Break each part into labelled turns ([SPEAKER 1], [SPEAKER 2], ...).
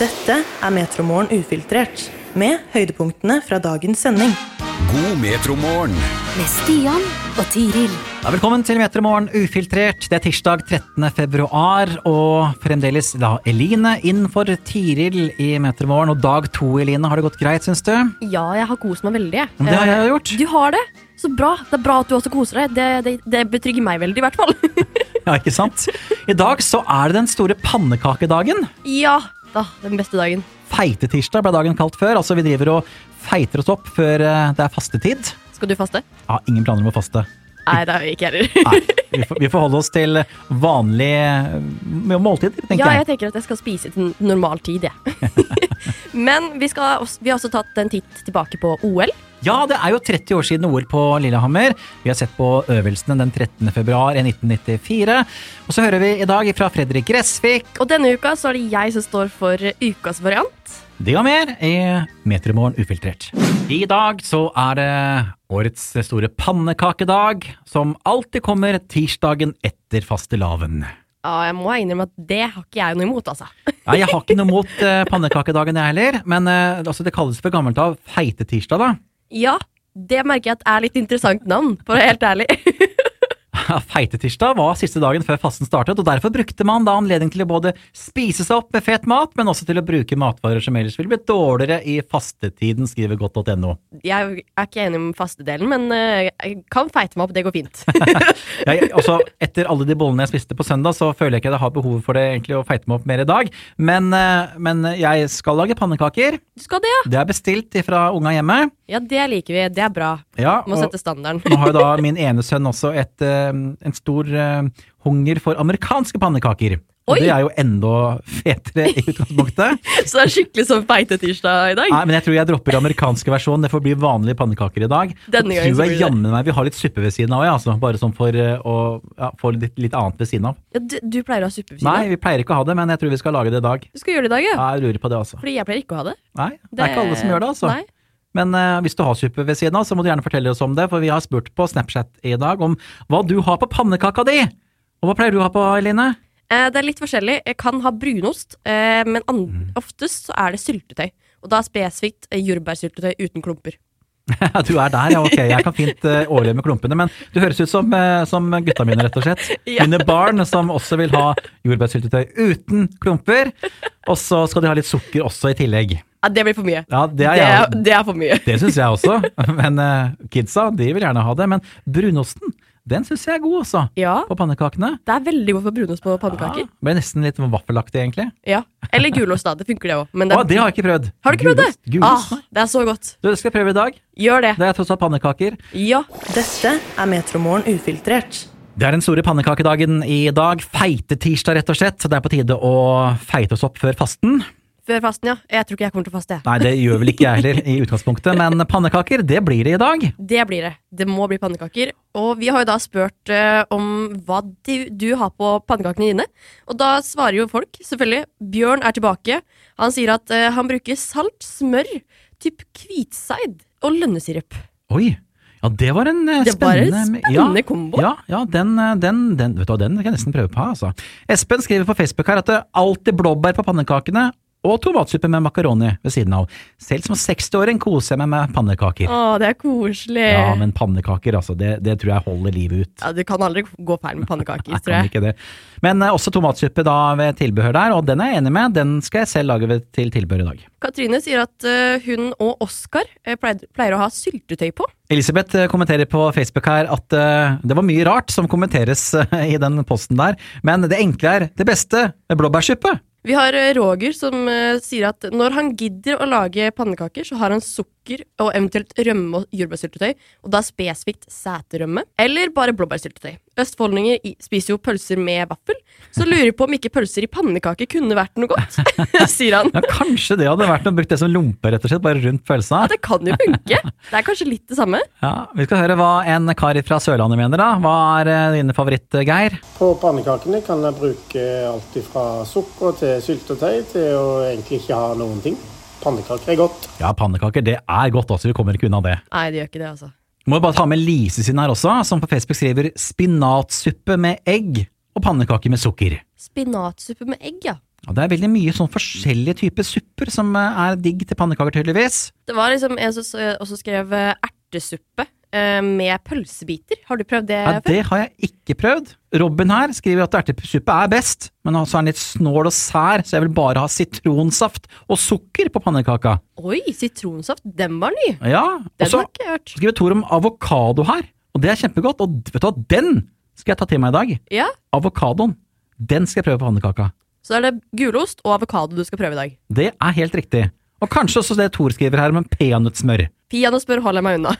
[SPEAKER 1] Dette er Metromorgen ufiltrert, med høydepunktene fra dagens sending.
[SPEAKER 2] God metromorgen.
[SPEAKER 3] med Stian og Tiril.
[SPEAKER 4] Ja, velkommen til Metermorgen ufiltrert. Det er tirsdag 13. februar, og fremdeles da Eline inn for Tiril i Metermorgen. Og dag to, Eline, har det gått greit, syns du?
[SPEAKER 5] Ja, jeg har kost meg veldig. jeg. Eh,
[SPEAKER 4] Men det har jeg gjort.
[SPEAKER 5] Du har det? Så bra. Det er bra at du også koser deg. Det, det, det betrygger meg veldig, i hvert fall.
[SPEAKER 4] Ja, ikke sant? I dag så er det den store pannekakedagen.
[SPEAKER 5] ja, da, den beste dagen.
[SPEAKER 4] Feitetirsdag ble dagen kalt før. Altså, vi driver og feiter oss opp før eh, det er fastetid.
[SPEAKER 5] Skal du faste?
[SPEAKER 4] Ja, ingen planer om å faste.
[SPEAKER 5] Nei, det har jeg ikke heller.
[SPEAKER 4] Nei, vi får, vi får holde oss til vanlige eh, måltider, tenker
[SPEAKER 5] ja, jeg
[SPEAKER 4] jeg.
[SPEAKER 5] tenker at jeg skal spise til normal tid, jeg. Men vi, skal, også- vi har også tatt en titt tilbake på OL.
[SPEAKER 4] Ja, det er jo 30 år siden OL på Lillehammer. Vi har sett på øvelsene den 13. februar i 1994. Og så hører vi i dag fra Fredrik Gressvik.
[SPEAKER 5] Og denne uka så er det jeg som står for ukas variant.
[SPEAKER 4] Det og mer i Metermorgen ufiltrert. I dag så er det årets store pannekakedag, som alltid kommer tirsdagen etter fastelavn.
[SPEAKER 5] Ja, jeg må innrømme at det har ikke jeg noe imot, altså.
[SPEAKER 4] Nei, jeg har ikke noe mot eh, pannekakedagen jeg heller, men eh, altså, det kalles for gammelt av feitetirsdag, da.
[SPEAKER 5] Ja, det merker jeg at er litt interessant navn, for å være helt ærlig.
[SPEAKER 4] Ja, Feitetirsdag var siste dagen før fasten startet, og derfor brukte man da anledning til å både spise seg opp med fet mat, men også til å bruke matvarer som ellers ville blitt dårligere i fastetiden, skriver godt.no.
[SPEAKER 5] Jeg er ikke enig med fastedelen, men eh, jeg kan feite meg opp. Det går fint.
[SPEAKER 4] Jeg, altså, etter alle de bollene jeg spiste på søndag, så føler jeg ikke jeg har behov for det egentlig å feite meg opp mer i dag, men, eh, men jeg skal lage pannekaker.
[SPEAKER 5] Du skal det, ja?
[SPEAKER 4] Det er bestilt fra unga hjemme.
[SPEAKER 5] Ja, det liker vi. Det er bra.
[SPEAKER 4] Ja,
[SPEAKER 5] Må
[SPEAKER 4] og-
[SPEAKER 5] sette standarden.
[SPEAKER 4] Nå har jo da min ene sønn også et, eh, en stor eh, hunger for amerikanske pannekaker. Og
[SPEAKER 5] Oi!
[SPEAKER 4] det er jo enda fetere i utgangspunktet.
[SPEAKER 5] Så det er skikkelig sånn feitetirsdag i dag.
[SPEAKER 4] Nei, men jeg tror jeg dropper amerikanske versjon. Det får bli vanlige pannekaker i dag.
[SPEAKER 5] Denne gangen
[SPEAKER 4] tror
[SPEAKER 5] så blir
[SPEAKER 4] jeg
[SPEAKER 5] det
[SPEAKER 4] jammen meg vi har litt suppe ved siden av, ja, altså. Bare sånn for eh, å ja, få litt, litt annet ved siden av.
[SPEAKER 5] Ja, du, du pleier å ha suppe
[SPEAKER 4] Nei,
[SPEAKER 5] ved siden av.
[SPEAKER 4] vi pleier ikke å ha det, men jeg tror vi skal lage det i dag.
[SPEAKER 5] Du skal gjøre det i dag, ja.
[SPEAKER 4] Ja, jeg lurer på det, altså.
[SPEAKER 5] Fordi jeg pleier ikke å ha det.
[SPEAKER 4] Nei, det er ikke alle som gjør det, altså.
[SPEAKER 5] Nei.
[SPEAKER 4] Men eh, hvis du har suppe ved siden av, så må du gjerne fortelle oss om det, for vi har spurt på Snapchat i dag om hva du har på pannekaka di! Og hva pleier du å ha på, Eline?
[SPEAKER 5] Eh, det er litt forskjellig. Jeg kan ha brunost, eh, men an
[SPEAKER 4] Mm.
[SPEAKER 5] oftest så er det syltetøy. Og da spesifikt eh, jordbærsyltetøy uten klumper.
[SPEAKER 4] Ja, Du er der, ja. Ok, jeg kan fint eh, overleve med klumpene, men du høres ut som, eh, som gutta mine, rett og slett.
[SPEAKER 5] Ja.
[SPEAKER 4] Mine barn som også vil ha jordbærsyltetøy uten klumper. Og så skal de ha litt sukker også i tillegg.
[SPEAKER 5] Ja, det blir for mye.
[SPEAKER 4] Ja, det er
[SPEAKER 5] Det er,
[SPEAKER 4] jeg.
[SPEAKER 5] det er for mye.
[SPEAKER 4] Det syns jeg også. Men eh, kidsa, de vil gjerne ha det. Men brunosten, den syns jeg er god, altså.
[SPEAKER 5] Ja,
[SPEAKER 4] På pannekakene.
[SPEAKER 5] det er veldig godt for brunost på
[SPEAKER 4] Ja,
[SPEAKER 5] pannekaker.
[SPEAKER 4] ble nesten litt vaffelaktig, egentlig.
[SPEAKER 5] Ja. Eller gulost, da. Det funker, det òg.
[SPEAKER 4] Å, det har jeg ikke prøvd.
[SPEAKER 5] Har du ikke prøvd det?
[SPEAKER 4] Gulost- Gulost?
[SPEAKER 5] Ah,
[SPEAKER 4] nei.
[SPEAKER 5] det er så godt.
[SPEAKER 4] Du, det skal jeg prøve i dag.
[SPEAKER 5] Gjør det.
[SPEAKER 4] Det er tross alt pannekaker.
[SPEAKER 5] Ja.
[SPEAKER 1] Dette er Metromorgen ufiltrert.
[SPEAKER 4] Det er den store pannekakedagen i dag. Feitetirsdag, rett og slett. Så det er på tide å feite oss opp før fasten.
[SPEAKER 5] Før fasten, ja. Jeg tror ikke jeg kommer til å faste. jeg.
[SPEAKER 4] Nei, det gjør vel ikke jeg heller i utgangspunktet, men pannekaker, det blir det i dag.
[SPEAKER 5] Det blir det. Det må bli pannekaker. Og vi har jo da spurt eh, om hva du, du har på pannekakene dine. Og da svarer jo folk, selvfølgelig. Bjørn er tilbake. Han sier at eh, han bruker salt, smør, typ hvitseid og lønnesirup.
[SPEAKER 4] Oi. Ja, det var en eh,
[SPEAKER 5] Det var en
[SPEAKER 4] spennende
[SPEAKER 5] spennende
[SPEAKER 4] ja,
[SPEAKER 5] kombo.
[SPEAKER 4] Ja, ja den, eh, den, den, vet du hva, den kan jeg nesten prøve på, altså. Espen skriver på Facebook her at det alltid blåbær på pannekakene og tomatsuppe med makaroni ved siden av. Selv som 60-åring koser jeg meg med pannekaker.
[SPEAKER 5] Å, det er koselig.
[SPEAKER 4] Ja, men pannekaker, altså, det, det tror jeg holder livet ut.
[SPEAKER 5] Ja, du kan aldri gå feil med pannekaker,
[SPEAKER 4] Jeg
[SPEAKER 5] tror
[SPEAKER 4] kan
[SPEAKER 5] jeg.
[SPEAKER 4] ikke det. Men eh, også tomatsuppe da ved tilbehør der, og den er jeg enig med. Den skal jeg selv lage ved, til tilbehør i dag.
[SPEAKER 5] Katrine sier at eh, hun og Oskar eh, pleier, pleier å ha syltetøy på.
[SPEAKER 4] Elisabeth eh, kommenterer på Facebook her at eh, det var mye rart som kommenteres eh, i den posten der, men det enkle er det beste med blåbærsuppe.
[SPEAKER 5] Vi har eh, Roger som eh, sier at når han gidder å lage pannekaker, så har han sukker og eventuelt rømme og jordbærsyltetøy, og da spesifikt sæterømme, eller bare blåbærsyltetøy. Østfoldinger i- spiser jo pølser med vaffel, så lurer jeg på om ikke pølser i pannekaker kunne vært noe godt, sier han.
[SPEAKER 4] Ja, kanskje det hadde vært noe brukt det som lompe, rett og slett, bare rundt pølsa.
[SPEAKER 5] Ja, det kan jo funke. Det er kanskje litt det samme.
[SPEAKER 4] Ja, vi skal høre hva en kar fra Sørlandet mener, da. Hva er eh, dine favoritt, eh, Geir?
[SPEAKER 6] På pannekakene kan jeg bruke alt fra sukker til syltetøy til å egentlig ikke ha noen ting. Pannekaker er godt.
[SPEAKER 4] Ja, pannekaker, det er godt også, vi kommer ikke unna det.
[SPEAKER 5] Nei, det gjør ikke det, altså.
[SPEAKER 4] Må bare ta med Lise sin her også, som på Facebook skriver spinatsuppe med egg og pannekaker med sukker.
[SPEAKER 5] Spinatsuppe med egg, ja.
[SPEAKER 4] Ja, det er veldig mye sånn forskjellige typer supper som eh, er digg til pannekaker, tydeligvis.
[SPEAKER 5] Det var liksom en som s- også skrev eh, ertesuppe eh, med pølsebiter. Har du prøvd det
[SPEAKER 4] Ja,
[SPEAKER 5] før?
[SPEAKER 4] det har jeg ikke prøvd. Robin her skriver at ertesuppe er best, men også er den litt snål og sær, så jeg vil bare ha sitronsaft og sukker på pannekaka.
[SPEAKER 5] Oi, sitronsaft. Den var ny!
[SPEAKER 4] Ja, og
[SPEAKER 5] Den
[SPEAKER 4] så
[SPEAKER 5] har ikke jeg hørt.
[SPEAKER 4] skriver Tor om avokado her, og det er kjempegodt. Og vet du hva, den skal jeg ta til meg i dag.
[SPEAKER 5] Ja,
[SPEAKER 4] Avokadoen. Den skal jeg prøve på pannekaka.
[SPEAKER 5] Så er det gulost og avokado du skal prøve i dag.
[SPEAKER 4] Det er helt riktig. Og kanskje også det Tor skriver her om peanøttsmør.
[SPEAKER 5] Peanøttsmør holder jeg meg unna.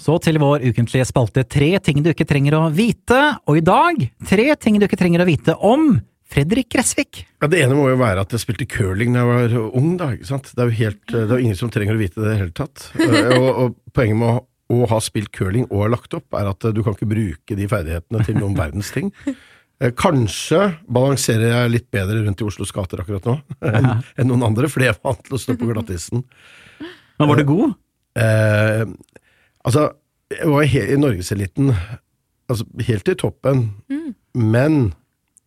[SPEAKER 4] Så til vår ukentlige spalte Tre ting du ikke trenger å vite. Og i dag tre ting du ikke trenger å vite om Fredrik Gressvik.
[SPEAKER 7] Ja, Det ene må jo være at jeg spilte curling da jeg var ung, da. ikke sant? Det er jo helt, eh, det er jo ingen som trenger å vite det i det hele tatt. Eh, Og, og poenget med å, å ha spilt curling og ha lagt opp, er at eh, du kan ikke bruke de ferdighetene til noen verdens ting. Eh, Kanskje balanserer jeg litt bedre rundt i Oslos gater akkurat nå enn enn noen andre, fordi jeg er vant til å stå på glattisen.
[SPEAKER 4] Men var du god?
[SPEAKER 7] Eh, altså, jeg var he i norgeseliten, altså helt i toppen, men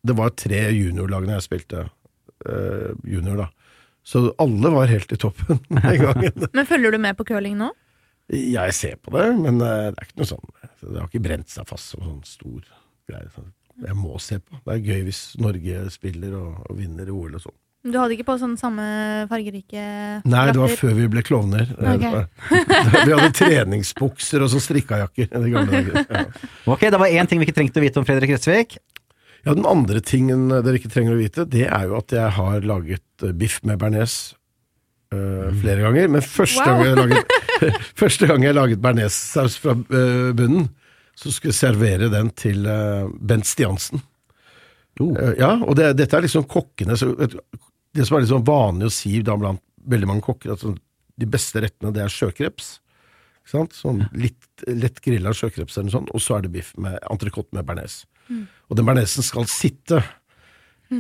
[SPEAKER 7] det var tre juniorlag når jeg spilte eh, junior, da. Så alle var helt i toppen den gangen.
[SPEAKER 8] Men følger du med på curling nå?
[SPEAKER 7] Jeg ser på det, men eh, det er ikke noe sånn Det har ikke brent seg fast som sånn stor greie. Sånn. Jeg må se på. Det er gøy hvis Norge spiller og, og vinner i OL og sånn.
[SPEAKER 8] Du hadde ikke på sånne samme fargerike
[SPEAKER 7] Nei, det var
[SPEAKER 8] drakter?
[SPEAKER 7] før vi ble klovner. Eh, det
[SPEAKER 8] Ok.
[SPEAKER 7] var- Vi hadde treningsbukser og sånn strikkajakker. i de gamle dager. Ja.
[SPEAKER 4] Ok, Det var én ting vi ikke trengte å vite om Fredrik Gressvik.
[SPEAKER 7] Ja, Den andre tingen dere ikke trenger å vite, det er jo at jeg har laget eh, biff med bearnés eh, flere ganger. Men første,
[SPEAKER 8] Wow.
[SPEAKER 7] gang jeg laget, første gang jeg laget bearnéssaus fra eh, bunnen, så skulle jeg servere den til eh, Bent Stiansen. Eh, ja, og det, dette er liksom kokkene så, vet du, Det som er liksom vanlig å si da blant veldig mange kokker, at sånn, de beste rettene det er sjøkreps. Ikke sant? Sånn litt, lett grilla sjøkreps eller noe sånt, og så er det biff med entrecôte med bearnés. Og den bearnésen skal sitte.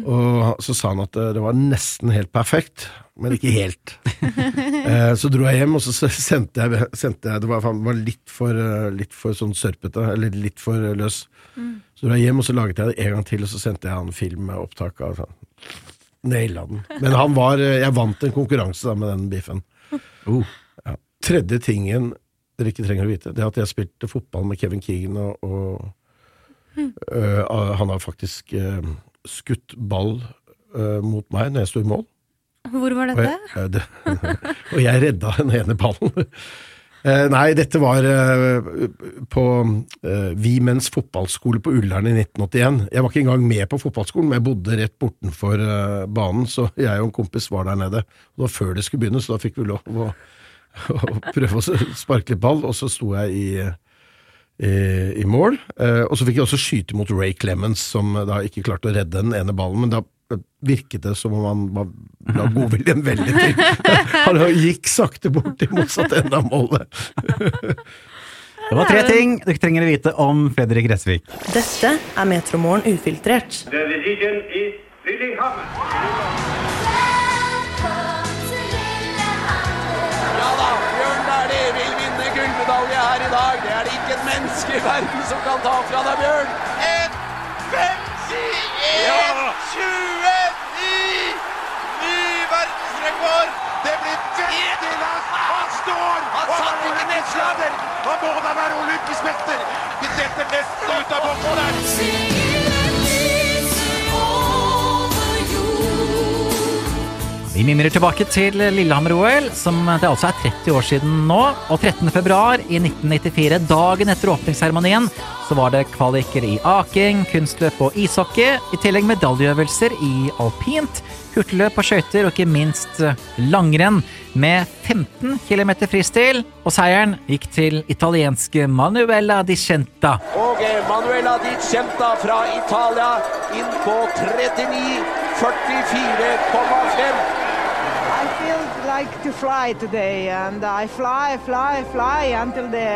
[SPEAKER 7] Og så sa han at eh, det var nesten helt perfekt, men ikke helt. Eh, så dro jeg hjem, og så s- sendte jeg, sendte jeg Det var, faen, det var litt, for, eh, litt for sånn sørpete, eller litt for eh, løs. Så dro jeg hjem, og så laget jeg det en gang til, og så sendte jeg han film med opptak av sånn. Naila den. Men han var eh, Jeg vant en konkurranse da med den biffen. Ja. Tredje tingen dere ikke trenger å vite, det er at jeg spilte fotball med Kevin Keegan og, og Eh, han har faktisk eh, skutt ball eh, mot meg når jeg sto i mål.
[SPEAKER 8] Hvor var
[SPEAKER 7] Og jeg,
[SPEAKER 8] dette?
[SPEAKER 7] eh, det, og jeg redda den ene ballen. Eh, nei, dette var eh, på eh, Vi Menns fotballskole på Ullern i 1981. Jeg var ikke engang med på fotballskolen, men jeg bodde rett bortenfor eh, banen, så jeg og en kompis var der nede. Og det var før det skulle begynne, så da fikk vi lov å, å prøve å sparke litt ball, og så sto jeg i eh, i, i mål. Eh, og så fikk jeg også skyte mot Ray Clemens, som eh, da ikke klarte å redde den ene ballen. Men da eh, virket det som om han var, la godviljen veldig til. han gikk sakte bort til motsatt ende av målet.
[SPEAKER 4] Det var tre ting du ikke trenger å vite om Fredrik Gressvik.
[SPEAKER 1] Dette er Metromorgen ufiltrert.
[SPEAKER 9] The decision is Lillehammer.
[SPEAKER 10] Ja da, Bjørn Dæhlie vil vinne gullmedalje her i dag. Det er det ikke et menneske i verden som kan ta fra deg, Bjørn. 1.51,29! Ny verdensrekord! Det blir veldig langt. Han står! Han satt ikke nedslader! Han må da være olympisk Vi setter nesten ut av boksen der.
[SPEAKER 4] Vi mimrer tilbake til Lillehammer-OL, som det altså er 30 år siden nå. Og 13. februar i 1994, dagen etter åpningsseremonien, så var det kvaliker i aking, kunstløp og ishockey, i tillegg medaljeøvelser i alpint, hurtigløp på skøyter og ikke minst eh, langrenn, med 15 km fristil. Og seieren gikk til italienske Manuela Di Centa.
[SPEAKER 10] Og eh, Manuela Di Centa fra Italia inn på 39,44,5.
[SPEAKER 11] I feel like to fly today, and I fly, fly, fly until the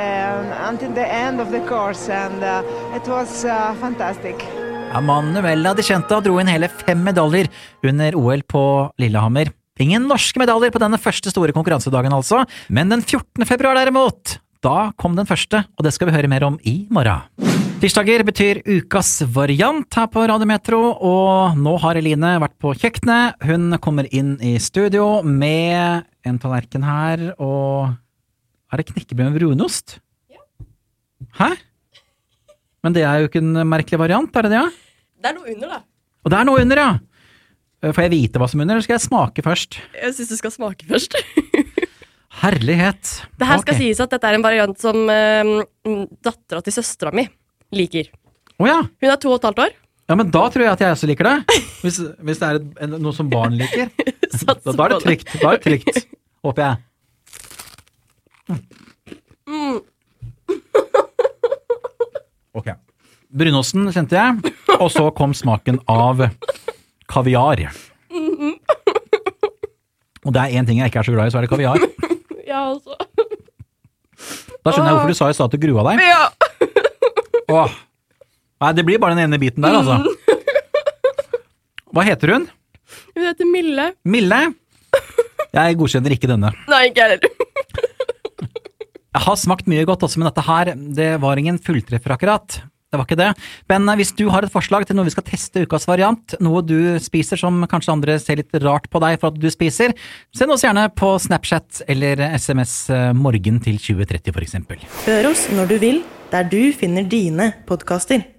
[SPEAKER 11] until the end of the course, and uh, it was uh, fantastic.
[SPEAKER 4] Ja, Manuela Di Centa dro inn hele fem medaljer under OL på Lillehammer. Ingen norske medaljer på denne første store konkurransedagen, altså. Men den 14. februar, derimot, da kom den første, og det skal vi høre mer om i morgen. Du Tirsdager betyr ukas variant her på Radiometro, og nå har Eline vært på kjøkkenet. Hun kommer inn i studio med en tallerken her, og Er det knekkebrød med brunost? Hæ? Men det er jo ikke en merkelig variant, er det det? ja?
[SPEAKER 5] Det er noe under, da.
[SPEAKER 4] Og det er noe under, ja! Eh, Får jeg vite hva som er under, eller skal jeg smake først?
[SPEAKER 5] Jeg syns du skal smake først.
[SPEAKER 4] Herlighet!
[SPEAKER 5] Det her skal
[SPEAKER 4] Ok.
[SPEAKER 5] sies at dette er en variant som uh, dattera til søstera mi liker.
[SPEAKER 4] Å ja.
[SPEAKER 5] Hun er to og et halvt år.
[SPEAKER 4] ja! Men da tror jeg at jeg også liker det. Hvis, hvis det er et, en, noe som barn liker. Da, da er det trygt. Da er det trygt, håper jeg.
[SPEAKER 5] Mm.
[SPEAKER 4] Ok. Brunosten kjente jeg, og så kom smaken av kaviar.
[SPEAKER 5] Mhm.
[SPEAKER 4] Og det er én ting jeg ikke er så glad i, så er det kaviar.
[SPEAKER 5] Ja, altså.
[SPEAKER 4] Da skjønner jeg hvorfor du sa i stad at du grua deg.
[SPEAKER 5] Ja.
[SPEAKER 4] Åh. Nei, det blir bare den ene biten der, altså. Hva heter hun?
[SPEAKER 5] Hun heter Mille.
[SPEAKER 4] Mille? Jeg godkjenner ikke denne.
[SPEAKER 5] Nei, ikke jeg heller.
[SPEAKER 4] Jeg har smakt mye godt også, men dette her, det var ingen fulltreffer akkurat. Det var ikke det. Men eh, hvis du har et forslag til noe vi skal teste ukas variant, noe du spiser som kanskje andre ser litt rart på deg for at du spiser, send oss gjerne på Snapchat eller SMS eh, morgen til 2030 for eksempel.
[SPEAKER 1] Hør oss når du vil, der du finner dine podkaster.